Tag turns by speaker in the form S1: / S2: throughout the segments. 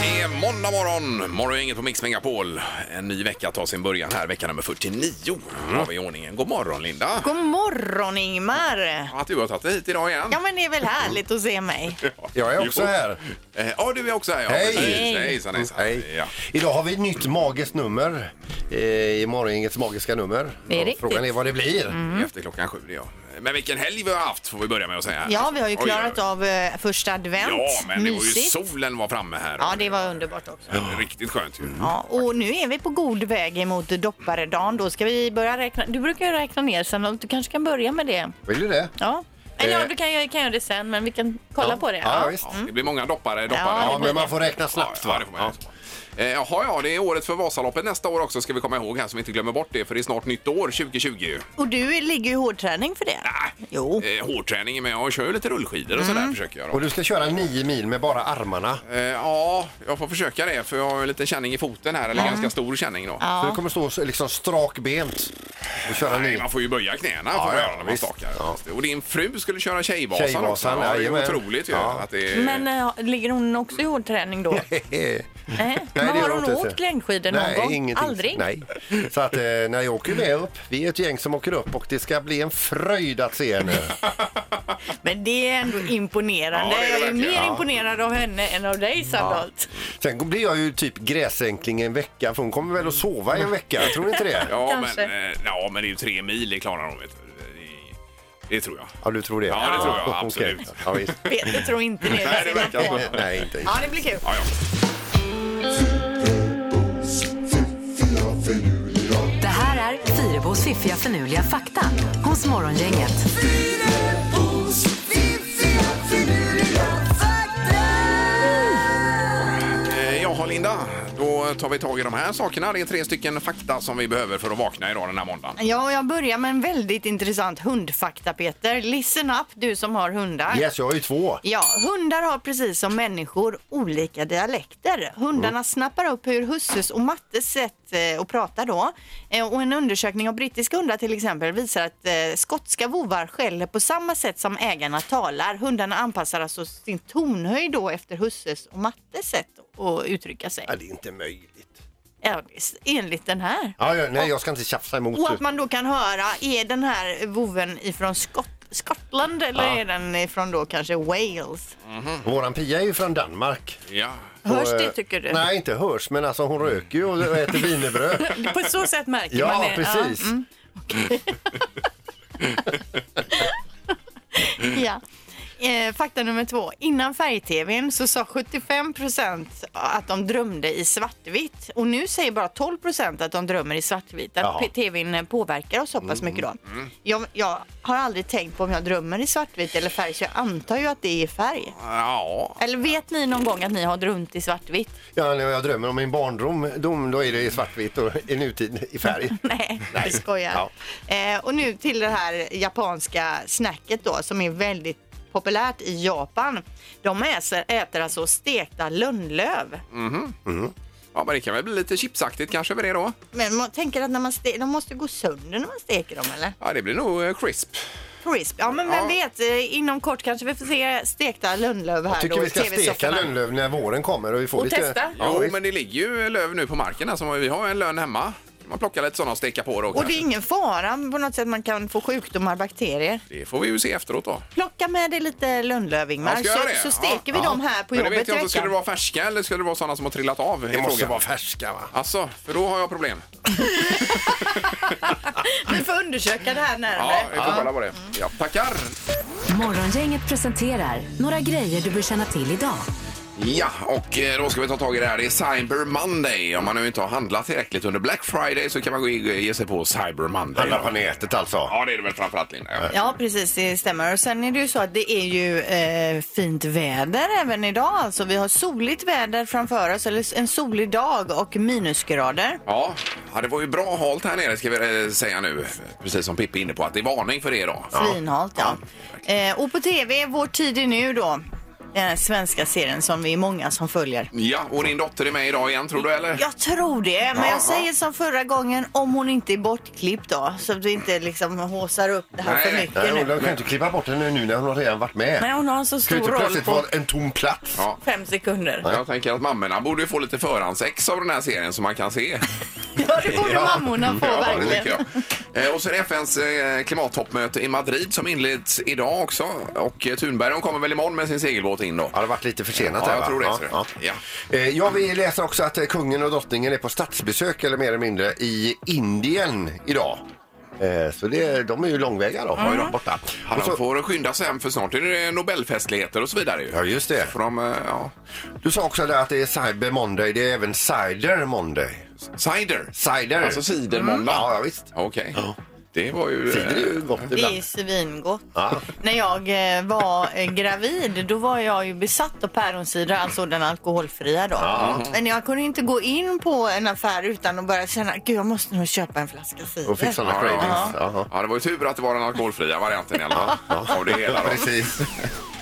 S1: god morgon! Morgongänget på Mix Megapol. En ny vecka tar sin början här, vecka nummer 49 har vi i ordningen. God morgon Linda!
S2: God morgon Ingmar!
S1: Att du har tagit dig hit idag igen.
S2: Ja men det är väl härligt att se mig.
S3: Jag är också
S1: Jo.
S3: här.
S1: Eh, Ja, du är också här. Ja.
S3: Hej.
S1: Precis.
S2: Hej.
S1: Hejsan, hejsan.
S3: Hej.
S1: Ja.
S3: Idag har vi ett nytt magiskt nummer. Eh, I morgongängets magiska nummer.
S2: Det är
S3: Ja,
S2: riktigt. Mm.
S3: Frågan är vad det blir.
S1: Efter klockan sju, det är jag. Men vilken helg vi har haft får vi börja med att säga.
S2: Ja vi har ju
S1: Oj,
S2: klarat
S1: oj.
S2: av eh, första advent.
S1: Ja, men det var ju
S2: Mysigt.
S1: solen var framme här.
S2: Ja Mm. det var underbart också.
S1: Riktigt skönt ju.
S2: Ja, och nu är vi på god väg emot dopparedagen. Då ska vi börja räkna. Du brukar ju räkna ner sen och du kanske kan börja med det.
S3: Vill du det?
S2: Ja. Eller
S3: Eh.
S2: ja, du kan, ju- kan göra det sen men vi kan kolla på det.
S3: Ja, visst.
S1: Det blir många doppare. doppare.
S2: Ja,
S3: Ja, men man får räkna
S1: Snabbt, va? Ja,
S3: snabbt va?
S1: det får man göra. Eh, Jaha, ja, det är året för Vasaloppet nästa år också ska vi komma ihåg här så vi inte glömmer bort det för det är snart nytt år 2020 ju.
S2: Och du ligger ju i hårdträning för det.
S1: Nej.
S2: Jo.
S1: Eh, hårdträning men jag kör ju lite rullskidor och sådär försöker jag
S3: Och
S1: då.
S3: du ska köra nio mil med bara armarna.
S1: Eh, ja, jag får försöka det för jag har ju lite känning i foten här, eller ganska stor känning då.
S3: Så du kommer stå så- liksom strakbent och köra
S1: Nej,
S3: nio.
S1: man får ju böja knäna
S3: Ja,
S1: får man
S3: ja,
S1: göra när man
S3: visst.
S1: stakar.
S3: Ja.
S1: Och din fru skulle köra Tjejvasan,
S3: Tjejvasan,
S1: också. Ja, det är
S3: jajamän.
S1: otroligt ju.
S3: Ja.
S1: Att det är...
S2: Men eh, ligger hon också i hårdträning då?
S3: Nej,
S2: Nej,
S3: det
S2: men
S3: gör
S2: har
S3: jag
S2: hon
S3: inte.
S2: åkt längdskidor någon
S3: Nej,
S2: gång?
S3: Ingenting.
S2: Aldrig?
S3: Nej. Så att eh, när jag åker med upp, vi är ett gäng som åker upp och det ska bli en fröjd att se henne.
S2: Men det är ändå imponerande.
S1: Ja, det är det
S2: jag är
S1: verkligen.
S2: mer
S1: Ja.
S2: imponerad av henne än av dig Sandholt.
S3: Sen blir jag ju typ gräsänkling en vecka för hon kommer väl att sova i en vecka, tror ni inte det?
S1: ja,
S2: kanske.
S1: men, eh, ja, men det är ju tre mil, det klarar hon vet du. Det- Det tror jag.
S3: Ja, du tror det?
S1: Ja, det tror jag, absolut.
S3: Okej. Ja, visst. Eh,
S2: Peter tror inte det.
S1: Nej, det verkar så.
S3: Nej, inte.
S2: Ja, det blir kul.
S1: Ja, ja.
S4: Det här är Fyrabos fiffiga förnuliga fakta hos Morgongänget.
S1: Eh, Jaha Linda, då tar vi tag i de här sakerna. Det är tre stycken fakta som vi behöver för att vakna idag den här måndagen.
S2: Ja, och jag börjar med en väldigt intressant hundfakta, Peter. Listen up, du som har hundar.
S3: Yes, jag har ju två.
S2: Ja, hundar har precis som människor olika dialekter. Hundarna
S3: Mm.
S2: snappar upp hur husses och mattes sätt eh, att prata då. Eh, och en undersökning av brittiska hundar till exempel visar att eh, skotska vovar skäller på samma sätt som ägarna talar. Hundarna anpassar alltså sin tonhöjd då efter husses och mattes sätt att uttrycka sig.
S3: Ja, det är inte möjligt.
S2: Ja, enligt den här.
S3: Ja, ja, nej, jag ska inte tjafsa emot.
S2: Och att man då kan höra, är den här voven ifrån Skott Skottland eller är den ifrån då kanske Wales?
S3: Våran Pia är ju från Danmark.
S1: Ja.
S2: Hörs
S3: Och,
S2: det
S3: eh,
S2: tycker du?
S3: Nej, inte hörs, men alltså hon röker ju och äter wienerbröd.
S2: På så sätt märker man
S3: Ja,
S2: det.
S3: precis.
S2: mm. Ja. Eh, fakta nummer två. Innan färg-tvn så sa 75 att de drömde i svartvitt. Och nu säger bara 12 att de drömmer i svartvitt. Att
S3: Jaha. Mm.
S2: p- tvn påverkar oss så pass mycket då. Jag, jag har aldrig tänkt på om jag drömmer i svartvitt eller färg så jag antar ju att det är färg.
S1: Ja.
S2: Eller vet ni någon gång att ni har drömt i svartvitt?
S3: Ja, när jag drömmer om min barndom, dom, då är det i svartvitt och i nutid i färg.
S2: Nej, jag skojar. Eh, och nu till det här japanska snacket då som är väldigt populärt i Japan. De äser, äter alltså stekta lönnlöv.
S1: Mm. ja, men det kan väl bli lite chipsaktigt kanske över det då.
S2: Men man tänker att när man ste- de måste gå sönder när man steker dem eller?
S1: Ja, det blir nog eh, crisp.
S2: Crisp. Ja men vem
S1: Ja.
S2: vet, eh, inom kort kanske vi får se stekta lönnlöv här
S3: Jag tycker
S2: då
S3: vi ska
S2: i TV-sofforna.
S3: steka lönnlöv när våren kommer. Och, vi får
S2: Och
S3: lite...
S2: testa.
S3: Ja,
S1: jo,
S3: visst.
S1: men det ligger ju löv nu på marken här. Som vi har en lön hemma. Man plockar lite sådana och steka på då.
S2: Och det är
S1: kanske.
S2: ingen fara på något sätt man kan få sjukdomar, bakterier.
S1: Det får vi ju se efteråt då.
S2: Plocka med dig lite lönnlöv Ingmar
S1: Ja, ska jag
S2: så,
S1: göra det?
S2: så steker
S1: Ja.
S2: vi dem här på
S1: men det
S2: jobbet
S1: vet jag
S2: i
S1: inte. Ska det
S2: veckan.
S1: vara färska eller ska det vara sådana som har trillat av? är
S3: Det måste
S1: frågan.
S3: vara färska, va?
S1: Alltså, för då har jag problem.
S2: Vi får undersöka det här närmare.
S1: Ja, vi får kolla på det.
S2: Mm.
S1: Ja, tackar!
S4: Morgongänget presenterar några grejer du bör känna till idag.
S1: Ja, och eh, då ska vi ta tag i det här. Det är Cyber Monday. Om man nu inte har handlat tillräckligt under Black Friday så kan man gå i- ge sig på Cyber Monday.
S3: Handla på nätet alltså.
S1: Ja, det är det väl framförallt, Linda. Ja.
S2: Ja, precis. Det stämmer. Och sen är det ju så att det är ju eh, fint väder även idag. Alltså, vi har soligt väder framför oss, eller en solig dag och minusgrader.
S1: Ja, ja, det var ju bra halt här nere ska vi eh, säga nu. Precis som Pippi är inne på, att det är varning för det idag.
S2: Svinhalt, ja. Eh, och på tv, Vår tid är nu då. den svenska serien som vi är många som följer.
S1: Ja, och din dotter är med idag igen tror du eller?
S2: Jag tror det, men
S1: Ja, ja.
S2: jag säger som förra gången om hon inte är bortklippt då. Så att vi inte liksom håsar upp det här
S1: Nej,
S2: för
S1: nej.
S2: mycket
S3: Nej, hon
S2: nu.
S3: kan ju inte klippa bort henne nu när hon har redan varit med.
S2: Men hon har en så
S3: Ska ju
S2: stor
S3: inte
S2: roll
S3: plötsligt
S2: på
S3: vara en tom plats.
S1: Ja.
S2: fem sekunder.
S1: Jag tänker att mammorna borde ju få lite förhandsex av den här serien som man kan se.
S2: Ja, det borde mammorna få
S1: Ja, det
S2: verkligen.
S1: tycker jag. Eh, Och så är det FNs eh, klimattoppmöte i Madrid som inleds idag också. Och eh, Thunberg hon kommer väl imorgon med sin segelbåt in då?
S3: Ja, det har varit lite försenat
S1: Ja,
S3: där,
S1: jag
S3: va?
S1: tror det,
S3: Ja,
S1: ser du.
S3: ja.
S1: Ja.
S3: Eh, Jag vill läsa också att eh, kungen och drottningen är på statsbesök eller mer eller mindre i Indien idag. Eh, Så det, de är ju långväga då, har ju de borta.
S1: Ja,
S3: Och
S1: de
S3: så,
S1: får skynda sig hem för snart är det Nobelfestligheter och så vidare ju.
S3: Ja, just det.
S1: För de, eh, ja.
S3: du sa också där att det är Cyber Monday, det är även Cider Monday.
S1: Cider.
S3: Cider. Mm.
S1: Alltså cidermåndag.
S3: Ja, ja, visst.
S1: Okej. Det var ju... eh,
S3: Cider är ju gott
S2: Det är
S3: ibland.
S2: svingott.
S3: Ja.
S2: När jag eh, var eh, gravid då var jag ju besatt av päroncidra, alltså den alkoholfria då. Men jag kunde inte gå in på en affär utan att börja känna, gud jag måste nog köpa en flaska cider.
S3: Och fick sådana
S1: Ja, ja, ja.
S3: cravings. Jaha.
S1: Ja, det var ju tur att det var den alkoholfria varianten i alla fall. Av det hela då.
S3: Precis.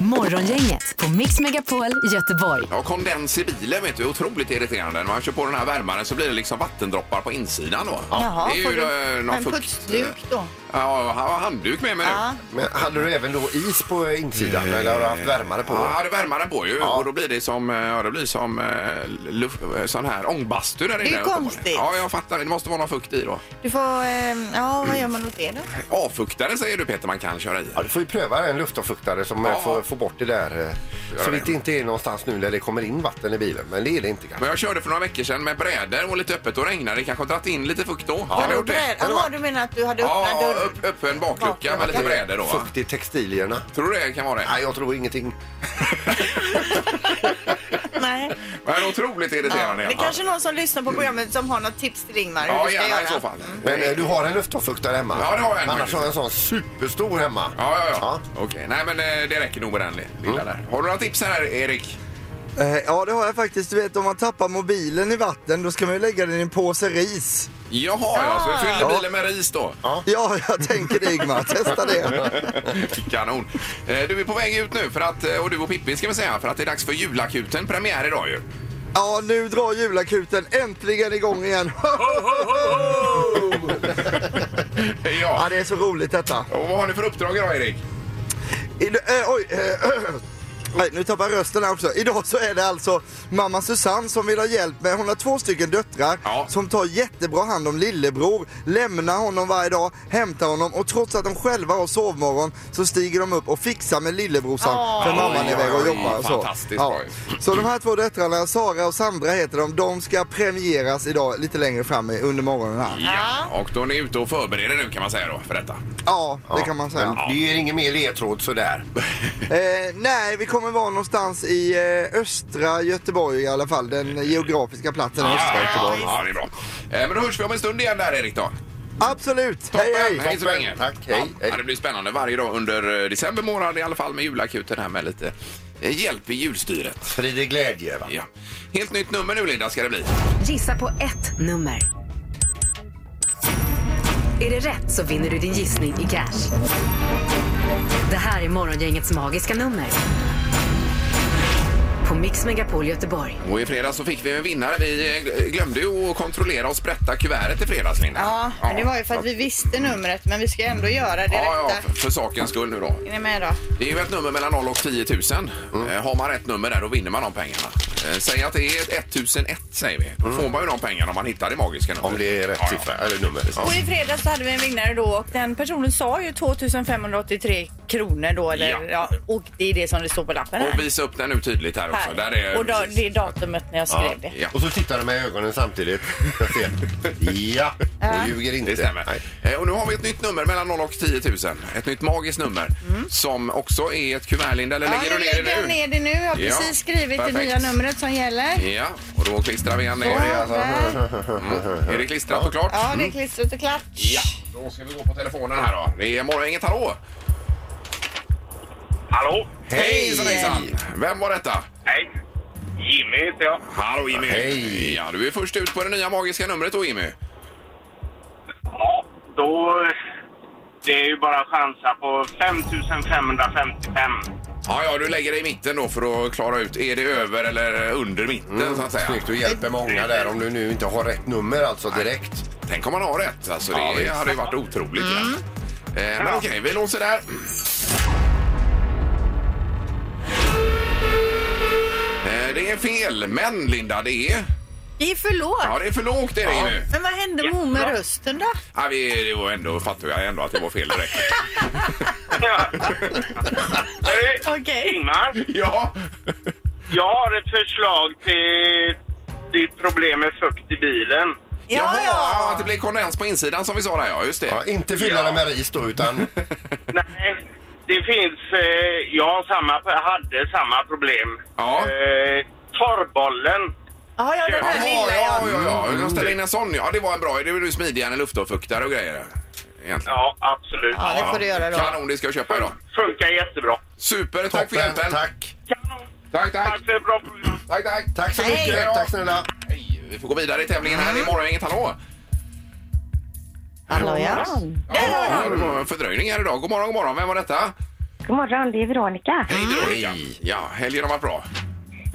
S4: Morgongänget på Mix Megapol Göteborg.
S1: Ja, kondens i bilen vet du, är otroligt irriterande. När man kör på den här värmaren så blir det liksom vattendroppar på insidan då.
S2: Jaha,
S1: det är
S2: får
S1: ju
S2: du
S1: eh, någon
S2: en
S1: fukt-
S2: putsduk då?
S1: Ja, jag har handduk med mig
S2: Ja.
S1: nu.
S3: Men hade du även då is på insidan eller har du haft värmare på?
S1: Ja, det värmer den på ju och då blir det som, eh, ja, det blir som eh, luft, eh, sån här ångbastu där inne.
S2: är konstigt.
S1: Ja, jag fattar. Det måste vara någon fukt i då.
S2: Du får, eh, ja vad gör man åt det då?
S1: Avfuktare säger du Peter man kan köra i.
S3: Ja, du får ju pröva en luftavfuktare som eh,
S1: Ja.
S3: får, får bort det där. eh,
S1: Gör det.
S3: Så vitt det inte är någonstans nu när det kommer in vatten i bilen. Men det är det inte kanske.
S1: Men jag körde för några veckor sedan med brädor och lite öppet och regnade. Det kanske har dragit in lite fukt då.
S2: Ja,
S1: Har du gjort det?
S2: Jaha, du menar att du hade öppnat
S1: Ja,
S2: dörren?
S1: upp, öppen baklucka med
S2: Baklucka.
S1: lite brädor då. Va?
S3: Fukt i textilierna.
S1: Tror du det kan vara det?
S3: Nej, jag tror ingenting.
S2: Nej.
S1: Men otroligt
S2: Ja,
S1: irriterande.
S2: det är kanske är någon som lyssnar på programmet som har något tips till Ingmar hur
S1: Ja,
S2: du ska
S1: gärna
S2: göra. Mm.
S1: i så fall.
S3: Men eh, du har en luftavfuktare hemma?
S1: Ja, det har jag en
S3: Annars
S1: faktiskt.
S3: har jag en sån superstor hemma.
S1: Ja, ja, ja. Okej, nej men eh, det räcker nog med den li- lilla där. Har du några tips här Erik?
S5: Eh, Ja, det har jag faktiskt. Du vet, om man tappar mobilen i vatten, då ska man ju lägga den i en påse ris.
S1: Jaha, ja, så jag fyller bilen med ris då.
S5: Ja, jag tänker det, Ingmar. Testa det.
S1: Kanon. Eh, Du är på väg ut nu för att, eh, och du och Pippi ska vi säga, för att det är dags för julakuten. Premiär idag ju.
S5: Ja, nu drar julakuten äntligen igång igen. Ja,
S1: Ja.
S5: det är så roligt detta.
S1: Och vad har ni för uppdrag idag Erik?
S5: I, eh, oj, eh, nej, nu tappar jag rösten här också. Idag så är det alltså mamma Susanne som vill ha hjälp med, hon har två stycken döttrar
S1: Ja.
S5: som tar jättebra hand om lillebror, lämnar honom varje dag, hämtar honom och trots att de själva har sovmorgon så stiger de upp och fixar med lillebrorsan
S2: Åh.
S5: för mamman är
S1: Oj,
S5: iväg och
S1: oj,
S5: jobbar och så.
S1: fantastiskt bra ju.
S5: Så de här två döttrarna, Sara och Sandra heter de, de ska premieras idag lite längre fram i- under morgonen här.
S1: Ja. Och då är ni ute och förbereder nu kan man säga då för detta.
S5: Ja, det kan man säga.
S3: Men Det ger ingen mer ledtråd sådär.
S5: Eh, nej, vi kommer vara någonstans i eh, östra Göteborg i alla fall. Den geografiska platsen.
S1: Ja,
S5: östra
S1: ja,
S5: Göteborg.
S1: ja, det är bra. Eh, Men då hörs vi om en stund igen där Erik då.
S5: Absolut! Hej,
S1: Toppen,
S5: hej!
S1: hej så länge.
S3: Tack, hej,
S1: ja,
S3: hej.
S1: ja, Det blir spännande varje dag under eh, december månad i alla fall med julakuten här med lite eh, hjälp i julstyret.
S3: Frid och glädje. Va?
S1: Ja. Helt nytt nummer nu Linda ska det bli.
S4: Gissa på ett nummer. Är det rätt så vinner du din gissning i cash. Det här är Morgongängets magiska nummer. På Mix Megapol Göteborg.
S1: Och i fredags så fick vi en vinnare. Vi eh, glömde ju att kontrollera och sprätta kuvertet i fredags Linda.
S2: Ja, men det var ju för att vi visste numret men vi ska ändå göra det
S1: Ja, ja,
S2: rätta.
S1: för, för sakens skull nu då.
S2: Är ni med då?
S1: Det är ju ett nummer mellan 0 och 10 000.
S2: Mm.
S1: Eh, Har man rätt nummer där då vinner man de pengarna. Eh, Säg att det är 1001 säger vi.
S2: Mm.
S1: Då får man ju de pengarna om man hittar det magiska numret.
S3: Om det är rätt
S1: Ja, ja.
S3: siffra eller nummer.
S2: Och i fredags så hade vi en vinnare då och den personen sa ju 2583 kronor då eller
S1: Ja.
S2: ja. och det är det som det står på lappen
S1: Och
S2: här.
S1: visa upp den nu tydligt här också.
S2: här.
S1: Där är,
S2: och då, det är datumet när jag skrev det.
S1: Ja.
S3: Och så tittar de med ögonen samtidigt. Jag ser. Ja, hon ljuger inte.
S1: Det stämmer.
S3: Nej.
S1: Eh, Och nu har vi ett nytt nummer mellan 0 och 10 000. Ett nytt magiskt nummer som också är ett kuvert, Linda. Eller
S2: Mm. Ja,
S1: lägger
S2: jag
S1: du ner det nu?
S2: lägger ner det nu. Jag har
S1: Ja,
S2: precis skrivit
S1: perfekt.
S2: det nya numret som gäller.
S1: Ja, och då klistrar vi igen ner det. alltså-
S2: Ja, där.
S1: Är det klistrat och klart?
S2: ja, det är klistrat och klart.
S1: Ja, då ska vi gå på telefonen här då. Det är Morgongänget, hallå!
S6: Hallå?
S1: Hej! Hejsan Vem var detta?
S6: Hej. Jimmy heter jag.
S1: Hallå Jimmy!
S3: Hej.
S1: Ja, du är först ut på det nya magiska numret då Jimmy.
S6: Ja, då... Det är ju bara att chansa på 5555.
S1: Ja, ja, du lägger dig i mitten då för att klara ut, är det över eller under mitten så att säga?
S3: Snyggt, du hjälper många där om du nu inte har rätt nummer alltså direkt.
S1: Tänk om man har rätt, alltså det
S3: Ja, visst.
S1: hade ju varit otroligt. ja. Eh, men okej, vi låser där. Eh, Det är fel, men Linda, det är...
S2: Det är för lågt.
S1: Ja, det är för lågt är det ju nu.
S2: Men vad hände med hon med rösten då?
S1: Ja, vi, det var ändå, fattar jag ändå att det var fel direkt.
S6: Ja. Hörru,
S2: Okej.
S6: Ingmar,
S1: Ja,
S6: jag har ett förslag till ditt problem med fukt i bilen.
S1: Jaha, ja, att det blir kondens på insidan som vi sa där, ja just det.
S3: Ja, inte fylla den med ris då utan
S6: Nej, det finns... Eh, jag har samma, hade samma problem.
S1: Ja.
S6: Eh, torrbollen.
S2: Ja, ja, den
S1: Jaha,
S2: här lilla
S1: ja,
S2: ja.
S1: ja, ja. Jag ställer in en sån. Ja, det var en bra idé. Det var ju smidigare än luftavfuktare och grejer. Egentligen.
S6: Ja, absolut.
S2: Ja, det får du göra då.
S1: Kanon, det ska jag köpa idag.
S6: Funkar jättebra.
S1: Super, tack för
S3: toppen.
S1: hjälpen.
S3: Tack.
S6: Kanon.
S1: tack, tack.
S6: Tack för ett bra program.
S1: Tack, tack.
S3: Tack så
S2: Hej.
S3: mycket. Tack snälla.
S1: Hej, Vi får gå vidare i tävlingen här. Det är morgon, inget hallå.
S2: Hallå ja.
S1: Ja, det var en fördröjning här idag. God morgon, god morgon. Vem var detta?
S7: God morgon, det är Veronica.
S1: Hej, Veronica. Ja, helgen har varit bra.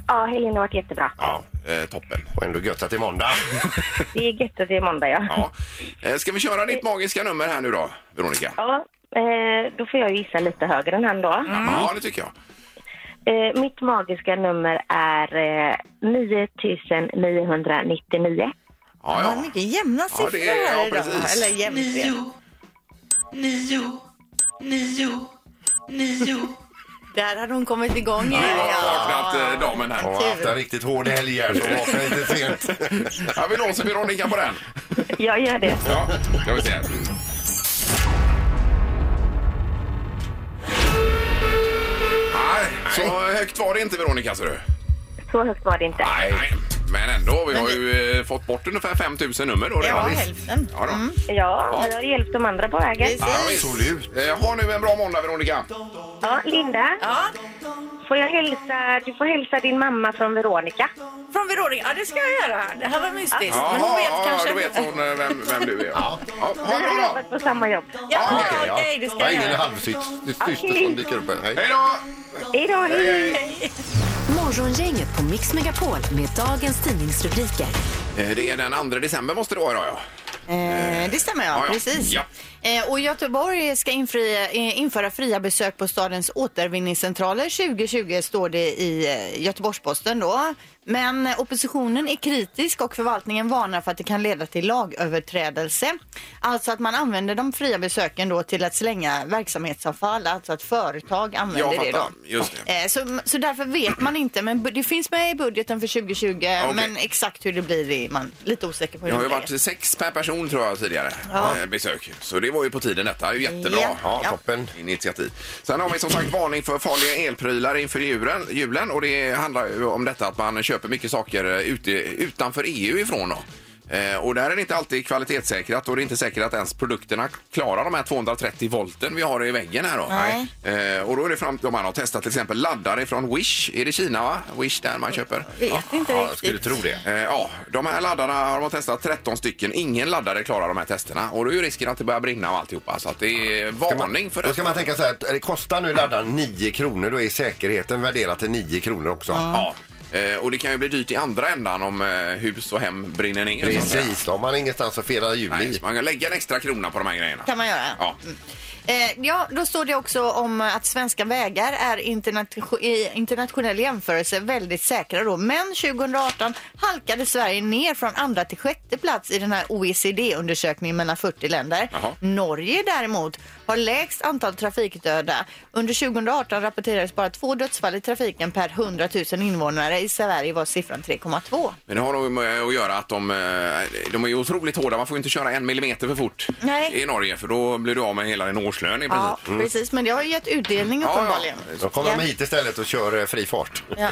S7: Ja, helgen har varit jättebra.
S1: Ja, eh, toppen.
S3: Och ändå gött att det är måndag.
S7: Det är gött att det är måndag, ja.
S1: Ja. Eh, Ska vi köra ditt magiska nummer här nu då, Veronica?
S7: Ja, eh, då får jag gissa lite högre än han då.
S1: Ja, det tycker jag.
S7: Eh, mitt magiska nummer är eh, 9999.
S1: Ja,
S2: Ja,
S1: ja.
S2: mycket jämna
S1: Ja,
S2: siffror
S1: det är- ja,
S2: här idag.
S1: precis.
S2: Eller jämnt. Där hade hon kommit igång igen.
S1: Nu har
S2: Ja.
S1: vaknat eh, damen här.
S3: Jag har haft en riktigt hård helg här så vaknade lite sent.
S1: Ja, vi låser Veronica på den.
S7: Jag gör det.
S1: Ja, ska vi se. Nej, så högt var det inte Veronica, ser du.
S7: Så högt var det inte.
S1: Nej. Men ändå, vi har ju eh, fått bort ungefär 5 000 nummer då.
S2: Det var
S1: redan.
S2: hälften.
S1: Ja, då.
S7: Ja, men jag har hjälpt de andra på vägen.
S2: Precis.
S3: Absolut.
S1: Eh, ha nu en bra måndag, Veronica.
S7: Ja, Linda,
S2: Ja,
S7: får jag hälsa, du får hälsa din mamma från Veronica.
S2: från Veronica. Ja, det ska jag göra. Det här var mystiskt. Men hon
S1: Jaha,
S2: vet
S1: ja,
S2: kanske.
S1: Då vet hon eh, vem, vem du är. Ja. ha det
S7: Vi har
S1: bra då.
S7: jobbat på samma jobb.
S2: Ja,
S1: Ja,
S2: okej,
S1: okej, ja.
S2: det
S3: Jag har
S2: ska jag
S3: ingen
S2: göra.
S3: halvsyster som dyker upp här. Hej.
S1: Hej då!
S7: Hej då, hej!
S4: Morgongänget på Mix Megapol med dagens tidningsrubriker.
S1: Eh, Det är den 2 december måste det vara idag, ja.
S2: Eh, det stämmer, ja.
S1: Ja, ja.
S2: Precis.
S1: Ja.
S2: Eh, och Göteborg ska infri, eh, införa fria besök på stadens återvinningscentraler 2020 står det i eh, Göteborgs-Posten då. Men eh, oppositionen är kritisk och förvaltningen varnar för att det kan leda till lagöverträdelse. Alltså att man använder de fria besöken då till att slänga verksamhetsavfall, alltså att företag använder
S1: Jag
S2: det
S1: fattar.
S2: då.
S1: Just det.
S2: Eh, Så, så därför vet man inte, men bu- det finns med i budgeten för 2020. Men exakt hur det blir det är man lite osäker på. i
S1: Det har ju
S2: nuläget.
S1: varit sex per person tror jag tidigare eh, besök. Så det var ju på tiden detta. Det är ju jättebra.
S2: Ja.
S3: Ja, toppen.
S1: initiativ. Sen har vi som sagt varning för farliga elprylar inför julen, julen och det handlar ju om detta att man köper mycket saker eh, ute, utanför EU ifrån då. Eh, och där är det inte alltid kvalitetssäkrat och det är inte säkert att ens produkterna klarar de här 230 volten vi har i väggen här då.
S2: Nej.
S1: Eh, och då är det fram om man har testat till exempel laddare från Wish, är det Kina va? Wish där man köper?
S2: Vet inte
S3: Ja, jag
S2: riktigt.
S3: skulle tro det.
S1: Eh, ja, de här laddarna har man testat 13 stycken. Ingen laddare klarar de här testerna och då är ju risken att det börjar brinna och alltihopa. Så att det är
S3: Ska man-
S1: varning för
S3: Då
S1: det.
S3: ska man tänka så här, att eh, det kostar nu laddaren 9 kronor, då är säkerheten värderad till 9 kronor också.
S1: Ja. Eh, och det kan ju bli dyrt i andra ändan om eh, hus och hem brinner ner.
S3: Precis, då har man ingenstans att fira jul
S1: Nej,
S3: i.
S1: så man kan lägga en extra krona på de här grejerna.
S2: kan man göra.
S1: Ja.
S2: Mm. Eh, ja, då står det också om att svenska vägar är internatio- i internationell jämförelse väldigt säkra då. Men 2018 halkade Sverige ner från andra till sjätte plats i den här OECD-undersökningen mellan 40 länder.
S1: Jaha.
S2: Norge däremot har lägst antal trafikdöda. Under 2018 rapporterades bara två dödsfall i trafiken per 100 000 invånare. I Sverige var siffran 3,2.
S1: Men det har nog med att göra att de, eh, de är ju otroligt hårda. Man får ju inte köra en millimeter för fort
S2: Nej.
S1: i Norge för då blir du av med hela din årslön i princip.
S2: Ja, precis. Men det har ju gett utdelning
S1: Mm. Ja, ja.
S2: uppenbarligen.
S3: Då kommer de
S2: Ja.
S3: hit istället och kör eh, fri fart.
S2: Ja.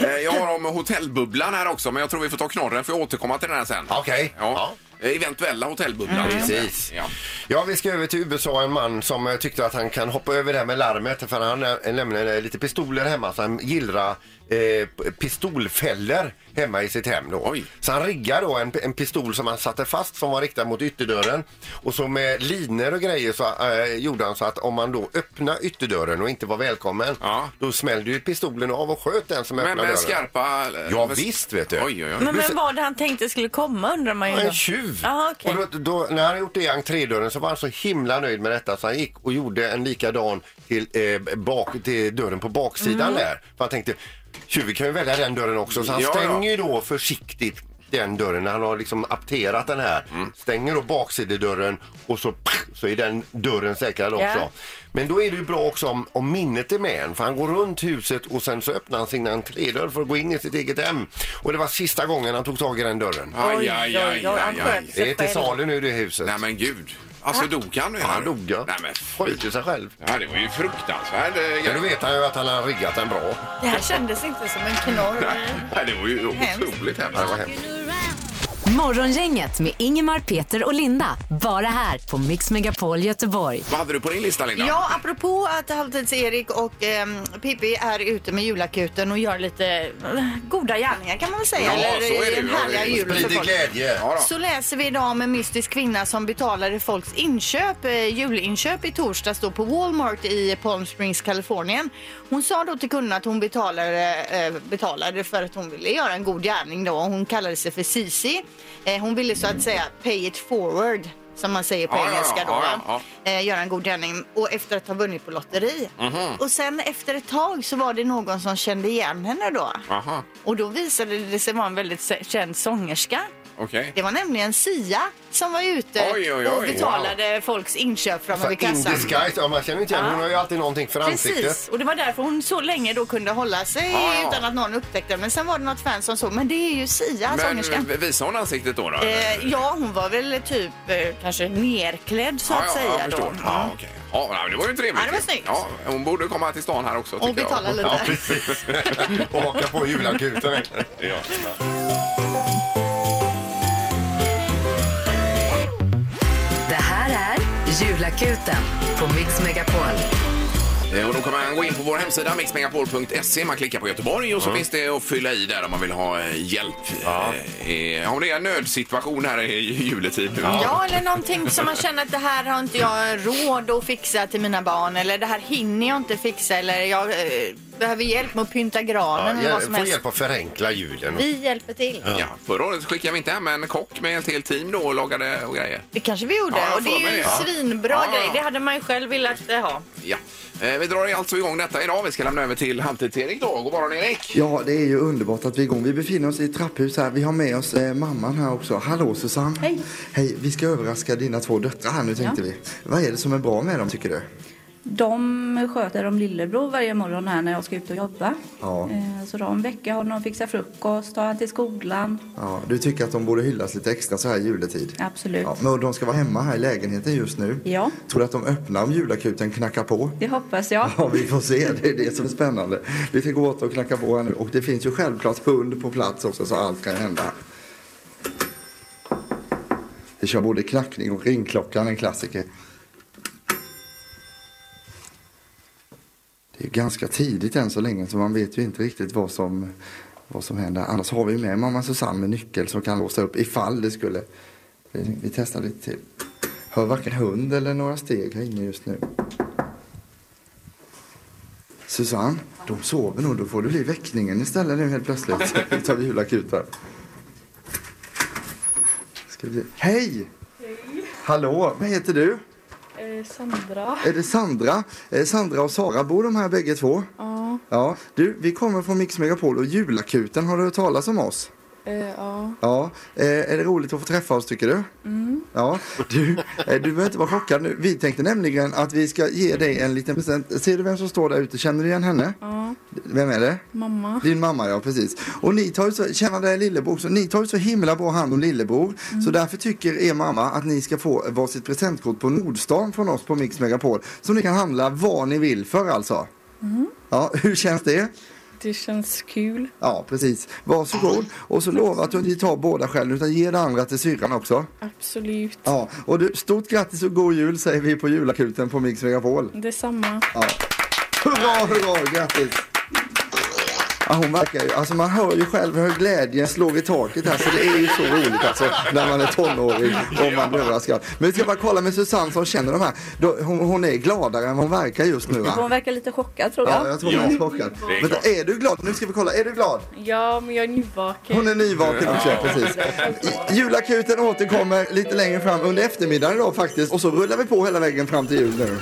S1: Eh, Jag har om hotellbubblan här också, men jag tror vi får ta knorren för jag återkomma till den här sen.
S3: Okej.
S1: Ja. Eh, Eventuella hotellbubblan.
S3: Precis.
S1: Ja.
S3: Ja, vi ska över till USA. En man som eh, tyckte att han kan hoppa över det här med larmet för han eh, nämligen eh, lite pistoler hemma så han gillrar eh, p- pistolfällor hemma i sitt hem. Då.
S1: Oj.
S3: Så han riggade då en, en pistol som han satte fast som var riktad mot ytterdörren och så med linor och grejer så eh, gjorde han så att om man då öppnade ytterdörren och inte var välkommen
S1: Ja.
S3: då smällde ju pistolen av och sköt den som öppnade
S1: Men
S3: dörren.
S1: med skarpa... eh,
S3: Ja, visst, vet du.
S1: Oj, oj, oj.
S8: Men, men vad det han tänkte skulle komma undrar man ju
S3: Ja,
S8: då.
S3: En tjuv!
S8: Ja, okej.
S3: Och då, då, när han gjort det i entrédörren så var han så himla nöjd med detta så han gick och gjorde en likadan till, eh, bak, till dörren på
S8: Mm.
S3: baksidan där. För han tänkte, tjuven kan ju välja den dörren också. Så han
S1: Ja, ja.
S3: stänger ju då försiktigt den dörren när han har liksom apterat den här.
S1: Mm.
S3: Stänger då baksidedörren och så, pff, så är den dörren säkrad också.
S8: Ja.
S3: Men då är det ju bra också om, om minnet är med en, för han går runt huset och sen så öppnar han sin entrédörr för att gå in i sitt eget hem. Och det var sista gången han tog tag i den dörren.
S1: Aj, aj, aj, aj, aj.
S3: Det är till salu nu det huset.
S1: Nej men gud. Alltså dog han menar
S3: han
S1: du?
S3: dog ja.
S1: Nej men
S3: Sköt ju sig själv.
S1: Ja, det var ju fruktansvärt. eh,
S3: Men då vet han ju att han har riggat den bra.
S8: Det här kändes inte som en knorr.
S1: Nej, det var ju otroligt
S3: Ja, det var
S1: hemskt.
S3: hemskt.
S4: Morgongänget med Ingemar, Peter och Linda. Bara här på Mix Megapol Göteborg.
S1: Vad hade du på din lista Linda?
S2: Ja, apropå att Halvtids-Erik och ehm, Pippi är ute med julakuten och gör lite eh, goda gärningar kan man väl säga.
S1: Ja, så är det
S2: Eller
S1: ju.
S2: en härliga
S1: Ja,
S2: jul för
S3: Sprider
S2: folk.
S3: glädje.
S1: Ja, då.
S2: Så läser vi idag om en mystisk kvinna som betalade folks inköp, eh, julinköp i torsdags då på Walmart i Palm Springs, Kalifornien. Hon sa då till kunden att hon betalade, eh, betalade för att hon ville göra en god gärning då. Hon kallade sig för Cici. Eh, hon ville så att säga pay it forward som man säger på
S1: Ja, ja,
S2: engelska då.
S1: ja,
S2: va?
S1: ja,
S2: eh, göra en god gärning och efter att ha vunnit på lotteri.
S1: Mhm.
S2: Och sen efter ett tag så var det någon som kände igen henne då.
S1: Aha,
S2: Och då visade det sig vara en väldigt se- känd sångerska.
S1: okej.
S2: Det var nämligen Sia som var ute
S1: Oj, oj, oj,
S2: och betalade folks inköp framme
S3: Så
S2: vid
S3: in
S2: kassan.
S3: disguise, ja, man känner inte igen, hon har ju alltid någonting för ansiktet.
S2: Precis, och det var därför hon så länge då kunde hålla sig
S1: Ja, ja.
S2: utan att någon upptäckte det. Men sen var det något fan som såg, men det är ju Sia, sångerskan.
S1: Men visade hon ansiktet då? då?
S2: Eh, ja, hon var väl typ eh, kanske nerklädd så
S1: Ja,
S2: att
S1: ja,
S2: säga
S1: jag
S2: då. Mm.
S1: förstår. Ja, okej. Ja, men det var ju trevligt.
S2: Ja, det var snyggt.
S1: Ja, hon borde komma till stan här också.
S2: Och
S1: tycker jag.
S2: betala lite.
S3: Ja, precis. och haka på julakuten. verkligen.
S1: Ja.
S4: Det här är Julakuten på Mix Megapol.
S1: Eh, Och då kan man gå in på vår hemsida mixmegapol.se. Man klickar på Göteborg
S3: Mm.
S1: och så finns det att fylla i där om man vill ha eh, hjälp. Eh, Ja. Om det är en nödsituation här i juletid nu.
S2: Ja, eller någonting som man känner att det här har inte jag råd att fixa till mina barn eller det här hinner jag inte fixa eller jag eh, behöver hjälp med att pynta granen
S3: Ja,
S2: eller
S3: hjäl-
S2: vad som
S3: Få
S2: helst.
S3: hjälp att förenkla julen.
S2: Vi hjälper till.
S1: Ja, förra året skickade vi inte hem en kock med ett helt team då och lagade och grejer.
S2: Det kanske vi gjorde.
S1: Ja, jag
S2: och det
S1: får
S2: är
S1: med
S2: ju
S1: det,
S2: en
S1: ja.
S2: svinbra
S1: Ja,
S2: grej.
S1: ja.
S2: Det hade man ju själv velat eh, ha.
S1: Ja. Eh, Vi drar alltså igång detta idag. Vi ska lämna över till Halvtids-Erik då. God morgon Erik!
S9: Ja, det är ju underbart att vi är igång. Vi befinner oss i ett trapphus här. Vi har med oss eh, mamman här också. Hallå Susanne! Hej! Hej, vi ska överraska dina två döttrar här nu tänkte vi. Vad är det som är bra med dem tycker du?
S10: De sköter om lillebror varje morgon här när jag ska ut och jobba.
S9: Ja.
S10: Eh, Så de väcker honom, fixar frukost, tar han till skolan.
S9: Ja, du tycker att de borde hyllas lite extra så här i juletid?
S10: Absolut.
S9: Ja, men de ska vara hemma här i lägenheten just nu.
S10: Ja.
S9: Tror du att de öppnar om julakuten knackar på?
S10: Det hoppas jag.
S9: Ja, vi får se. Det är det som är spännande. Vi ska gå åt och knacka på här nu. Och det finns ju självklart hund på plats också, så allt kan hända. Vi kör både knackning och ringklockan, en klassiker. Det är ganska tidigt än så länge, så man vet ju inte riktigt vad som, vad som händer. Annars har vi med mamma Susanne med nyckel som kan låsa upp ifall det skulle... Vi, vi testar lite till. Hör varken hund eller några steg här inne just nu. Susanne, de sover nog. Då får det bli väckningen istället nu helt plötsligt. Vi tar julakuten. Ska vi... Hej! Hej! Hallå, vad heter du?
S10: Eh, Sandra.
S9: Är det Sandra? Eh, Sandra och Sara, bor de här bägge två? Ja. Ja, du, vi kommer från Mix Megapol och julakuten, har du hört talas om oss?
S10: Eh, Ja.
S9: Ja, eh, är det roligt att få träffa oss tycker du? Mm. Ja, du, eh, du behöver inte vara chockad nu. Vi tänkte nämligen att vi ska ge dig en liten present. Ser du vem som står där ute? Känner du igen henne? Ja. Vem är det?
S10: Mamma.
S9: Din mamma ja, precis. Och ni tar ju så, känner dig lillebror, så ni tar ju så himla bra hand om lillebror. Så därför tycker er mamma att ni ska få varsitt presentkort på Nordstan från oss på Mix Megapol. Som ni kan handla vad ni vill för alltså. Ja, hur känns det?
S10: Det känns kul.
S9: Ja, precis. Varsågod. Och så lova att du inte tar båda själv utan ge det andra till syrran också.
S10: Absolut.
S9: Ja, och du, stort grattis och god jul säger vi på julakuten på Mix Megapol.
S10: Detsamma.
S9: Hurra, hurra, grattis! Ja, hon verkar ju, alltså man hör ju själv hur glädjen slår i taket här så det är ju så roligt alltså när man är tonåring och man blir överraskad. Men vi ska bara kolla med Susanne som känner de här. Då- Hon, hon är gladare än hon verkar just nu
S10: Hon
S9: va?
S10: verkar lite chockad tror jag.
S9: Ja, jag tror hon är chockad.
S10: är
S9: Vänta, är du glad? Nu ska vi kolla, är du glad?
S8: Ja, men jag är nyvaken.
S9: Hon är nyvaken också, precis. I- Julakuten återkommer lite längre fram under eftermiddagen idag faktiskt och så rullar vi på hela vägen fram till jul nu.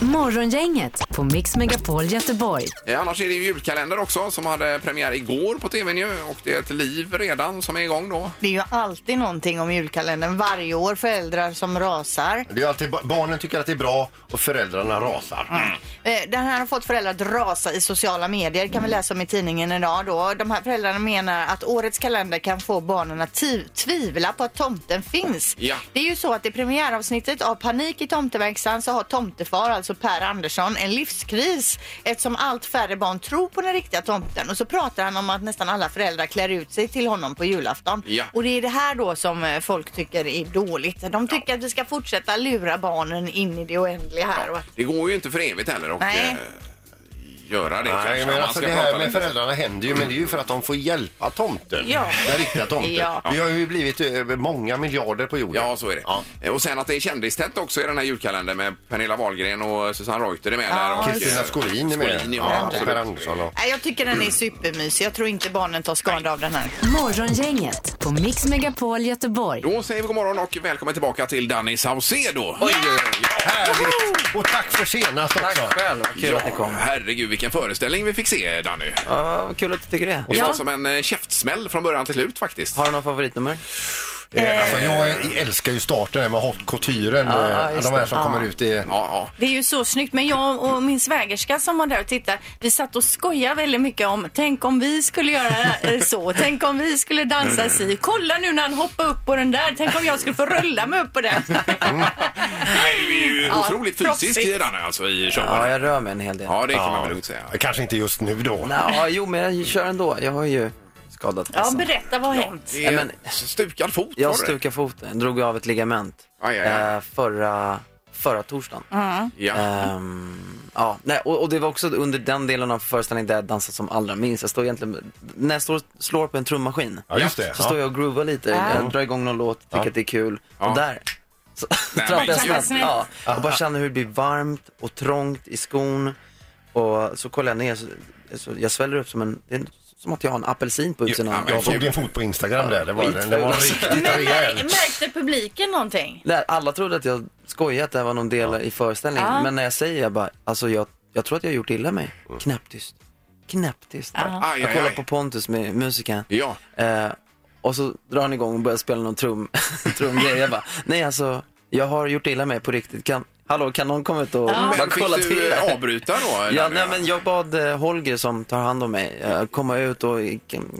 S4: Morgongänget på Mix Megapol Göteborg.
S1: Eh, Annars är det ju julkalender också som hade premiär igår på tvn ju och det är ett liv redan som är igång då.
S2: Det är ju alltid någonting om julkalendern varje år. Föräldrar som rasar.
S3: Det är alltid, ba- barnen tycker att det är bra och föräldrarna rasar.
S1: Mm.
S2: Eh, Den här har fått föräldrar att rasa i sociala medier kan vi läsa om i tidningen idag då. De här föräldrarna menar att årets kalender kan få barnen att ti- tvivla på att tomten finns.
S11: Ja.
S2: Det är ju så att i premiäravsnittet av Panik i tomteverkstan så har tomtefar, alltså Per Andersson, en livskris eftersom allt färre barn tror på den riktiga tomten. Och så pratar han om att nästan alla föräldrar klär ut sig till honom på julafton.
S11: Ja.
S2: Och det är det här då som eh, folk tycker är dåligt. De tycker att vi ska fortsätta lura barnen in i det oändliga här. Och att
S1: Det går ju inte för evigt heller och
S2: Nej.
S1: eh, göra det
S3: Nej,
S1: kanske.
S3: men
S1: Man
S3: alltså
S1: ska
S3: det här
S1: prata
S3: med
S1: lite.
S3: föräldrarna händer ju, men det är ju för att de får hjälpa tomten.
S1: Ja.
S3: Den riktiga tomten.
S1: Ja.
S3: Vi har ju blivit över många miljarder på jorden.
S1: Ja, så är det. Eh, Och sen att det är kändistätt också i den här julkalendern med Pernilla Wahlgren och Susanne Reuter är med
S2: Ja.
S1: där. och-
S3: Kristina Schorin är med.
S1: Schorin,
S3: Ja,
S1: ja.
S3: och Per Andersson och-
S2: Nej, jag tycker den är supermysig. Jag tror inte barnen tar skada av den här.
S4: Morgongänget på Mix Megapol Göteborg.
S1: Då säger vi god morgon och välkommen tillbaka till Danny Saucedo.
S3: Härligt! Och tack för senast också.
S1: Tack själv,
S12: kul att ni kom.
S1: Herregud, vilken föreställning vi fick se, Danny.
S12: Ja, vad kul att du tycker det.
S1: Det var som en eh, käftsmäll från början till slut faktiskt.
S12: Har du någon favoritnummer?
S3: Eh, Alltså, jag älskar ju starten här med hot couturen.
S12: Ja,
S3: eh,
S12: just
S3: de här
S12: det.
S3: som
S12: Ja.
S3: kommer ut i...
S8: Det är ju så snyggt. Men jag och min svägerska som var där och tittade, vi satt och skojade väldigt mycket om tänk om vi skulle göra eh, så. Tänk om vi skulle dansa si. Kolla nu när han hoppar upp på den där. Tänk om jag skulle få rulla mig upp på den.
S1: Nej, vi är ju
S8: Ja,
S1: otroligt fysisk
S8: proffsigt.
S1: i Danny alltså i showen.
S12: Ja, jag rör mig en hel del.
S1: Ja, det kan man väl lugnt säga.
S3: Kanske inte just nu då.
S12: Ja, jo, men jag kör ändå. Jag har ju skadat
S8: Ja, berätta vad har hänt?
S12: Nej, men-
S1: Stukad fot
S12: Jag
S1: var det.
S12: stukade foten, drog av ett ligament eh, förra, förra torsdagen.
S8: Mm.
S1: Ja.
S12: Ehm, ja. Nej, och, och det var också under den delen av föreställningen där jag dansade som allra minst. Jag står egentligen, när jag står, slår på en trummaskin
S3: Ja, just det.
S12: så
S3: Ja.
S12: står jag och groovar lite,
S3: Ja.
S12: jag drar igång någon låt, tycker
S3: Ja.
S12: att det är kul.
S3: Ja.
S12: Och där så
S3: men
S12: trampar jag
S3: gud.
S12: snett. Ja.
S3: Ja.
S12: Jag bara känner hur det blir varmt och trångt i skon. Och så kollar jag ner, så, så jag sväller upp som en, det är som att jag har en apelsin på utsidan. av-
S3: Jag såg din fot på Instagram där. Det var,
S12: Skitful.
S3: det var riktigt rejäl.
S8: Märkte publiken någonting?
S12: Nej, alla trodde att jag skojade att det här var någon del i föreställningen.
S8: Ja. Mm.
S12: Men när jag säger jag bara, alltså jag, jag tror att jag har gjort illa mig. Knäpptyst. Knäpptyst.
S8: Ja. Aj,
S12: Jag
S8: aj,
S12: kollar
S8: aj.
S12: på Pontus med musikern.
S1: Ja.
S12: Eh, och så drar han igång och börjar spela någon trum, trumgrej. Jag bara, nej alltså, jag har gjort illa mig på riktigt. Kan, hallå, kan någon komma ut och
S1: Men
S12: bara
S1: fick
S12: kolla
S1: du,
S12: till? det här?"
S1: eh, avbryta då,
S12: Ja,
S1: Daniel?
S12: nej, men jag bad eh, Holger som tar hand om mig eh, komma ut och eh,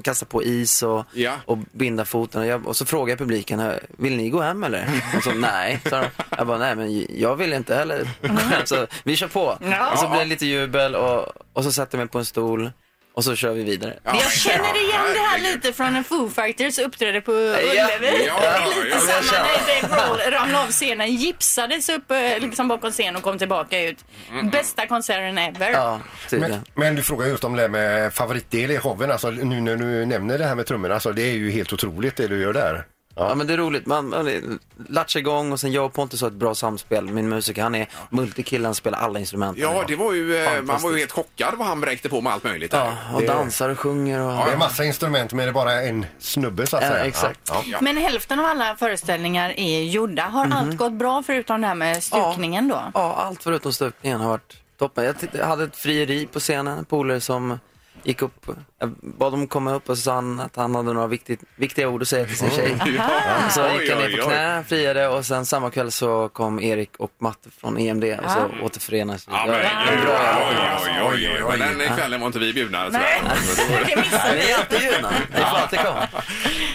S12: kasta på is och, och binda foten. Och, jag, och så frågade jag publiken, eh, vill ni gå hem eller? Och så nej, sa de. Jag bara, nej men jag vill inte heller gå hem, så vi kör på.
S8: Ja.
S12: Och så blev det lite jubel och, och så satte jag mig på en stol och så kör vi vidare.
S8: Jag känner igen det här lite från en Foo Fighters uppträdde på Ullevi.
S12: ja,
S8: det är
S12: ja,
S8: lite
S12: ja, jag
S8: samma
S12: känner.
S8: när Dave Grohl ramlade av scenen, gipsades upp eh, liksom bakom scenen och kom tillbaka ut.
S12: Mm.
S8: Bästa konserten ever.
S3: Men, men du frågar just om det här med favoritdel i showen. Alltså, nu när du nämner det här med trummorna, alltså, det är ju helt otroligt det du gör där.
S12: Ja. men det är roligt. Man, man latchar igång och sen jag och Pontus har ett bra samspel. Min musiker, han är multikillen, han spelar alla instrument.
S1: Ja, det var ju, eh, man var ju
S12: Fantastiskt.
S1: helt chockad vad han bräkte på med allt möjligt.
S12: Ja, och
S1: Det-
S12: dansar och sjunger och...
S3: Det är massa instrument men det är bara en snubbe så att
S12: Ja,
S3: säga.
S12: exakt.
S3: Ja.
S8: Men hälften av alla föreställningar är gjorda. Har
S12: Mhm.
S8: allt gått bra förutom det här med stukningen då?
S12: Ja, allt förutom stöpningen har varit toppen. Jag, titt- jag hade ett frieri på scenen, en polare som gick upp, jag bad dem komma upp och så sa han att han hade några viktigt, viktiga ord att säga till sin tjej.
S11: Aha.
S12: Så
S11: Oj,
S12: gick jag
S11: oj,
S12: ner
S11: oj.
S12: på knä, friade och sen samma kväll så kom Erik och Matte från EMD och så
S1: Ah.
S12: återförenades vi.
S1: Ja, men, gud, oj, oj, oj, oj, oj. Men den kvällen var inte vi bjudna. Nej,
S12: det missade Ni är alltid bjudna. Det är klart det kom.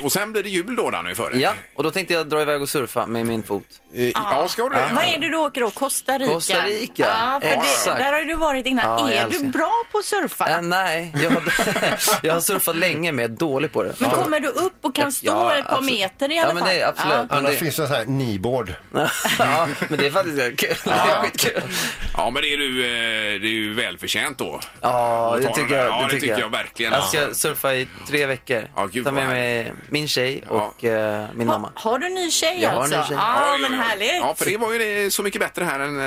S1: Och sen blir det jul då, Danny, för dig. Eh,
S12: Ja, och då tänkte jag dra iväg och surfa med min fot.
S1: Ja, ska du det?
S8: Vad är det du åker då? Costa Rica?
S12: Costa Rica,
S8: Ja, för det,
S12: exakt.
S8: där har du varit innan.
S12: Ja, jag
S8: är
S12: älskar.
S8: du bra på att surfa?
S12: Äh, nej, jag har, jag har surfat länge men jag är dålig på det.
S2: Men
S12: Ja.
S2: kommer du upp och kan stå ett par
S12: absolut.
S2: meter i alla
S12: ja, men
S2: fall?
S12: det är absolut. Men
S3: Annars
S12: det-
S3: finns det så här kneeboard.
S12: ja, men det är faktiskt kul. Ja.
S1: Ja, men det är, du, eh, det är ju välförtjänt då.
S12: Ja,
S1: Att ta
S12: det
S1: den
S12: tycker
S1: där.
S12: jag.
S1: Ja, det tycker jag verkligen.
S12: Jag ska surfa i tre veckor. Ta med
S1: vad
S12: mig min tjej och eh, min mamma.
S2: Har du ny tjej
S12: Jag har
S2: alltså?
S12: en ny tjej.
S2: Ja,
S1: Oj, oj,
S2: men
S1: oj.
S2: härligt.
S1: Ja, för det var ju det så mycket bättre här än...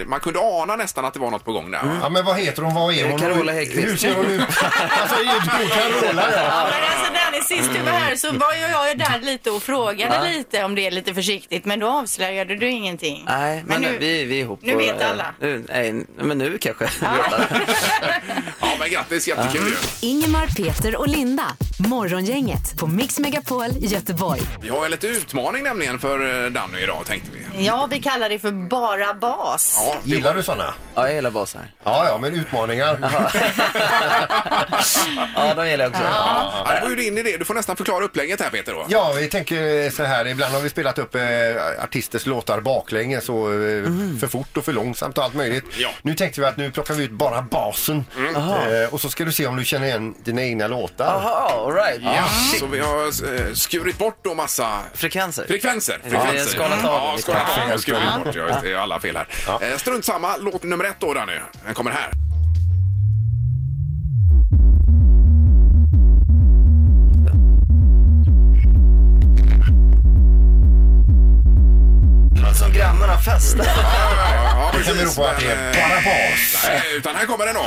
S1: eh, Man kunde ana nästan att det var något på gång där. va?
S3: Ja, men vad heter hon? Vad är hon?
S12: Carola
S3: Hur-
S12: Häggkvist.
S3: Hur ser hon ut? Alltså, är det Carola?
S2: Ja,
S3: ja.
S2: men alltså Danny, sist du var här så
S12: Mm.
S2: var ju jag ju där lite och frågade
S12: Ja.
S2: lite om det är lite försiktigt, men då avslöjade du ingenting.
S12: Nej, men,
S2: Men nu-
S12: vi, vi är ihop.
S2: nu
S12: och,
S2: vet
S12: eh,
S2: alla.
S12: Nu, nej, men nu kanske.
S1: Ja, men grattis. Jättekul ju.
S4: Ingemar, Peter och Linda. Morgongänget på Mix Megapol Göteborg.
S1: Vi har en liten utmaning nämligen för eh, Danny idag, tänkte vi.
S13: Ja, vi kallar det för bara bas.
S1: Ja, det-
S3: Gillar du sådana?
S12: Ja, jag gillar basar.
S3: Ja, ja, men utmaningar.
S12: Ja, de gillar jag också.
S1: Ja, det var ju din idé. Du får nästan förklara upplägget här, Peter. Då.
S3: Ja, vi tänker så här. Ibland har vi spelat upp eh, artisters låtar baklänges och eh, för fort och för långsamt och allt möjligt.
S1: Ja.
S3: Nu tänkte vi att nu plockar vi ut bara basen. Eh, och så ska du se om du känner igen dina egna låtar.
S12: Jaha, all right.
S1: Ja, så vi har eh, skurit bort då massa
S12: Frekvenser.
S1: frekvenser.
S12: Ja, vi har
S1: frekvenser.
S12: skalat av
S1: Ja,
S12: lite.
S1: skalat
S12: Tack för
S1: av och
S12: hjälpen.
S1: skurit bort. Ja, just det, Jag har alla fel här. Eh, Strunt samma. Låt nummer ett då, Danny. Den kommer här.
S12: Något som grannarna festar.
S1: Ja,
S3: Det kan bero på att det
S1: men,
S3: är
S1: eh,
S3: bara bas.
S1: Nej, utan här kommer den då.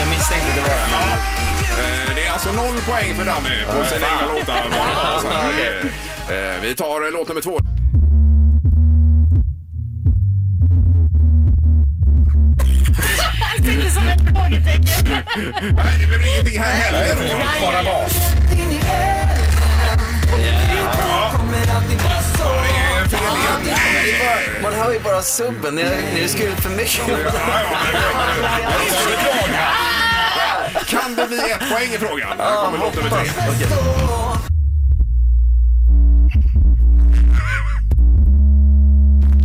S12: Jag misstänkte det var den.
S1: Eh, Det är alltså noll poäng för Danny på sina egna låtar. Så, eh, eh, Vi tar eh, låt nummer två.
S2: Det är inte som ett frågetecken.
S1: Nej, det blir ingenting här heller.
S3: Bara bas.
S1: Det är fel igen.
S12: Man hör ju bara subben. Ni har ni har skurit för mycket.
S1: Kan det bli ett poäng i frågan? Här kommer låt nummer tre.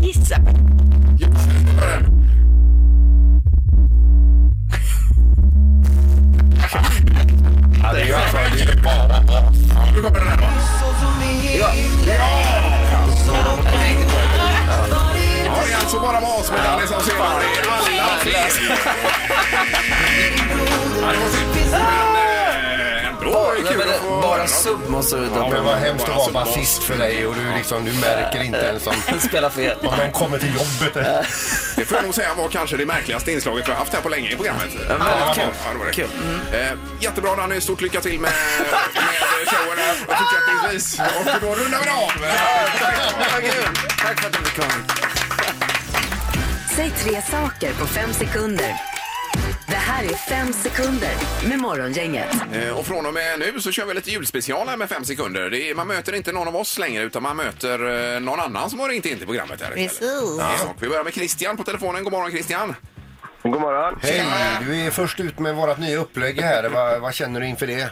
S13: Gissa.
S3: Ja, det är ju alltså det är bara bas.
S1: Nu kommer den här då. Ja, det är alltså bara bas med Danny som ser vad det är. Alla tre. Ja, det var synd. Men, eh, ändå är det
S12: Nej,
S1: kul
S12: men
S1: att
S12: det-
S1: få höra
S12: Bara
S1: dem.
S12: sub måste du
S3: Ja, men vad hemskt att vara
S1: Bara så
S3: basist för dig och du, liksom, du märker inte ens om,
S12: spela fel.
S3: om de kommer till jobbet.
S1: Det får jag nog säga var kanske det märkligaste inslaget vi har haft här på länge i programmet. Ja,
S12: väldigt
S1: ja,
S12: kul.
S1: ja, det var det.
S12: Kul.
S1: Eh, jättebra Danny, stort lycka till med, med showen här fortsättningsvis. Och då rundar vi av.
S12: Tack för att du kom.
S4: Säg tre saker på fem sekunder. Det här är fem sekunder med Morgongänget.
S1: Eh, Och från och med nu så kör vi lite julspecial här med fem sekunder. Det är, man möter inte någon av oss längre utan man möter eh, någon annan som har ringt in till programmet här istället.
S13: Precis.
S1: Ja. Och vi börjar med Christian på telefonen. God morgon Christian!
S6: God morgon.
S3: Hej, du är först ut med vårt nya upplägg här. Vad, vad känner du inför det?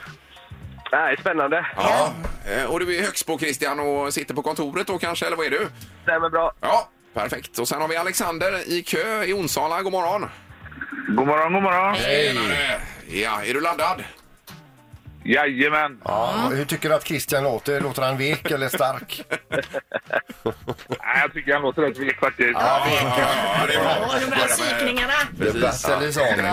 S6: Nej, spännande.
S1: Ja. Eh, Och du är i Högsbo Christian och sitter på kontoret då kanske, eller vad är du?
S6: Stämmer bra.
S1: Ja, perfekt. Och sen har vi Alexander i kö i Onsala. God morgon!
S6: God morgon, god morgon.
S1: Tjenare! Ja, är du laddad?
S6: Jajamän.
S3: Ja, hur tycker du att Christian låter? Låter han vek eller stark?
S6: Nej, jag tycker han låter rätt vek faktiskt. Eh,
S1: ja, det är bra.
S2: Och de här psykningarna.
S3: Det bästa är sång.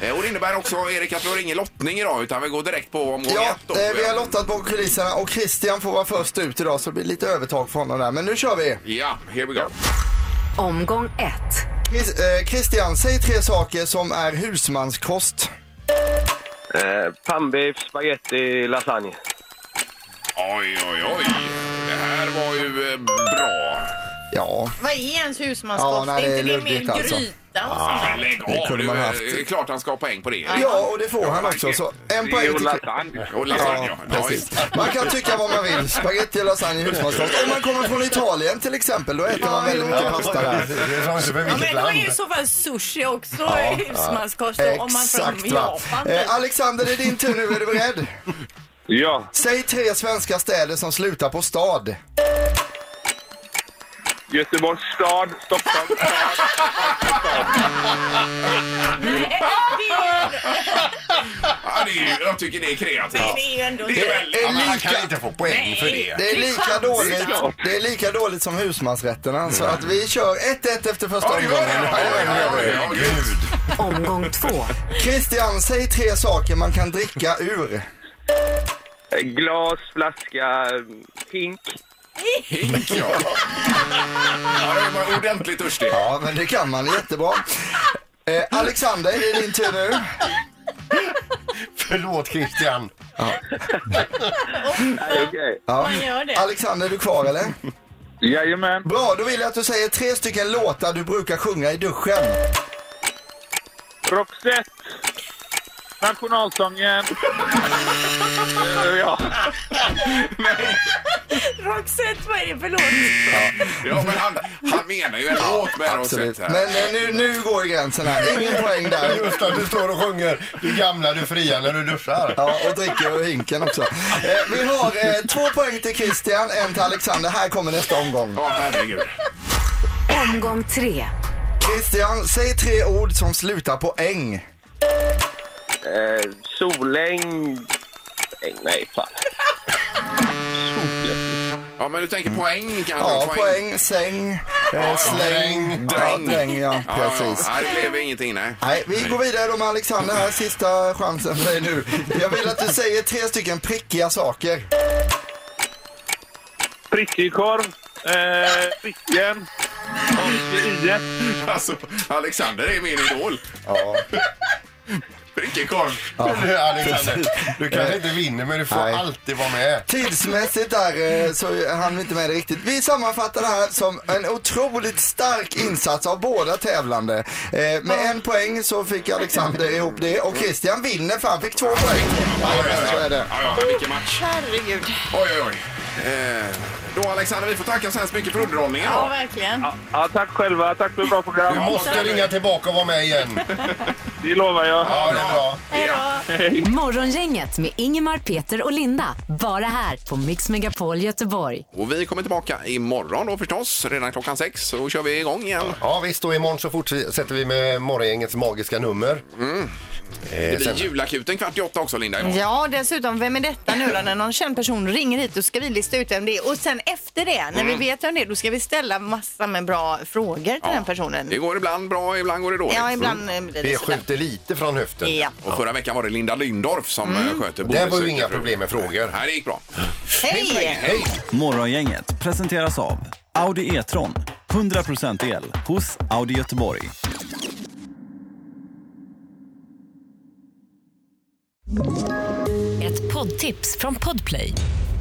S1: Eh, Och det innebär också, Erik, att vi har ingen lottning idag utan vi går direkt på omgång
S9: Ja,
S1: ett. Då.
S9: eh, vi har lottat bakom kulisserna och Christian får vara först ut idag så det blir lite övertag för honom där. Men nu kör vi!
S1: Ja, here we go.
S4: Omgång ett.
S9: Chris, eh, Christian, säg tre saker som är husmanskost.
S6: Eh, Pannbiff, spaghetti, lasagne.
S1: Oj, oj, oj. Det här var ju eh, bra.
S9: Ja,
S2: Vad är ens
S9: Ja,
S2: husmanskost?
S9: nej, det
S2: är
S9: är
S2: inte det mer
S9: luddigt, alltså.
S2: gryta? och sånt?
S1: Men lägg
S9: det
S1: av
S9: kunde
S1: nu.
S9: man ha haft.
S1: Det är klart han ska ha poäng på det. Erik.
S9: ja och det får han också. Så en
S6: Det är
S9: poäng
S6: ju
S9: till
S6: lasagne.
S1: Och lasagne, ja. ja
S9: Precis.
S1: visst.
S9: Man kan tycka vad man vill. Spagetti och lasagne är husmanskost. Om man kommer från Italien till exempel, då äter man väldigt mycket pasta där.
S3: Det är som inte för
S2: Ja,
S3: vilket
S2: men då är ju i
S3: land.
S2: så fall sushi också husmanskost då, om man är
S9: Exakt
S2: från
S9: va.
S2: Japan. typ.
S9: Eh, Alexander, det är din tur nu. Är du beredd?
S6: Ja.
S9: Säg tre svenska städer som slutar på stad.
S6: Göteborgs stad, Stockholms stad.
S1: Ja, det är ju, jag tycker det är kreativt.
S14: Men det är ju ändå-
S1: Det är väl,
S9: Det är
S1: ja, men han
S9: lika-
S1: kan inte få poäng för det.
S9: Det är lika dåligt, det är lika dåligt som husmansrätterna. Så att vi kör 1-1 efter första
S1: Ja, det gör
S9: omgången.
S1: det. Ja, ja, ja, ja, ja, gud.
S9: Omgång två. Christian, säg tre saker man kan dricka ur.
S6: Glas, flaska, hink.
S1: Hink, ja. Ja, det var ordentligt törstig.
S9: Ja, men det kan man jättebra. Eh, Alexander, det är din tur nu.
S3: Förlåt Christian.
S6: Okej.
S9: Ja.
S14: Man gör det.
S9: Alexander, är du kvar eller?
S6: Jajamän.
S9: Bra, då vill jag att du säger tre stycken låtar du brukar sjunga i duschen.
S6: Roxette. Nationalsången. Eh, ja.
S14: Roxette, vad är det för låt?
S1: Ja, men han, han menar ju en låt med
S9: Absolut.
S1: Rosette här.
S9: Men eh, nu, nu går gränsen här. Ingen poäng där.
S3: Just det, du står och sjunger Du gamla, du fria när du duschar.
S9: Ja, och dricker ur hinken också. Eh, vi har eh, två poäng till Christian, en till Alexander. Här kommer nästa omgång.
S1: Ja, herregud.
S15: Omgång tre.
S9: Christian, säg tre ord som slutar på äng.
S6: Eh, soläng. Nej, Nej, fan.
S1: Ja, men du tänker poäng kanske?
S9: Ja, poäng, säng, eh, släng, ja, dräng. Ja, precis.
S1: Ja, det blev ingenting, nej.
S9: Nej, vi går vidare då med Alexander här. Sista chansen för dig nu. Jag vill att du säger tre stycken prickiga saker.
S6: Prickig korv. Eh, pricken. Och i.
S1: Alltså, Alexander är min idol.
S9: Ja.
S1: Prickig korv.
S3: Du, Alexander, du kanske inte vinner men du får
S9: Nej.
S3: alltid vara med.
S9: Tidsmässigt där eh, så hann vi inte med det riktigt. Vi sammanfattar det här som en otroligt stark insats av båda tävlande. Eh, med en poäng så fick Alexander ihop det och Christian vinner för han fick två poäng. Jajamän, så är det.
S1: Ja, ja, men vilken match.
S14: Herregud.
S1: Oj, oj, oj. Eh, då Alexander, vi får tacka så hemskt mycket för underhållningen.
S14: Ja,
S1: då.
S14: verkligen.
S6: Ja, tack själva. Tack för ett bra program.
S3: Du måste ringa tillbaka och vara med igen.
S6: Det lovar jag.
S3: Ja, det är bra.
S14: Hej då.
S15: Morgongänget med Ingemar, Peter och Linda. Bara här på Mix Megapol Göteborg.
S1: Och vi kommer tillbaka imorgon då förstås, redan klockan sex. Så kör vi igång igen.
S3: Ja visst, och imorgon så fortsätter vi med morgongängets magiska nummer.
S1: Det
S3: Eh,
S1: blir
S3: sen,
S1: julakuten kvart i åtta också, Linda.
S14: Mm.
S1: imorgon.
S2: Ja, dessutom, vem är detta nu då? När någon känd person ringer hit och ska vi lista ut vem det är. Och sen efter det, när vi vet vem det är, då ska vi ställa massa med bra frågor till den personen.
S1: Det går ibland bra, ibland går det dåligt. Mm.
S2: Ja, ibland eh, blir
S3: vi
S2: det sådär.
S3: skjuter lite från höften.
S2: Ja.
S1: Och förra veckan var det Linda Lyndorff som mm. sköter
S3: Det var ju
S1: bonuscykeln.
S3: inga problem med frågor.
S1: Nej, det gick bra.
S2: Hej!
S16: Morgongänget presenteras av Audi E-tron. 100% el hos Audi Göteborg.
S4: Ett poddtips från Podplay.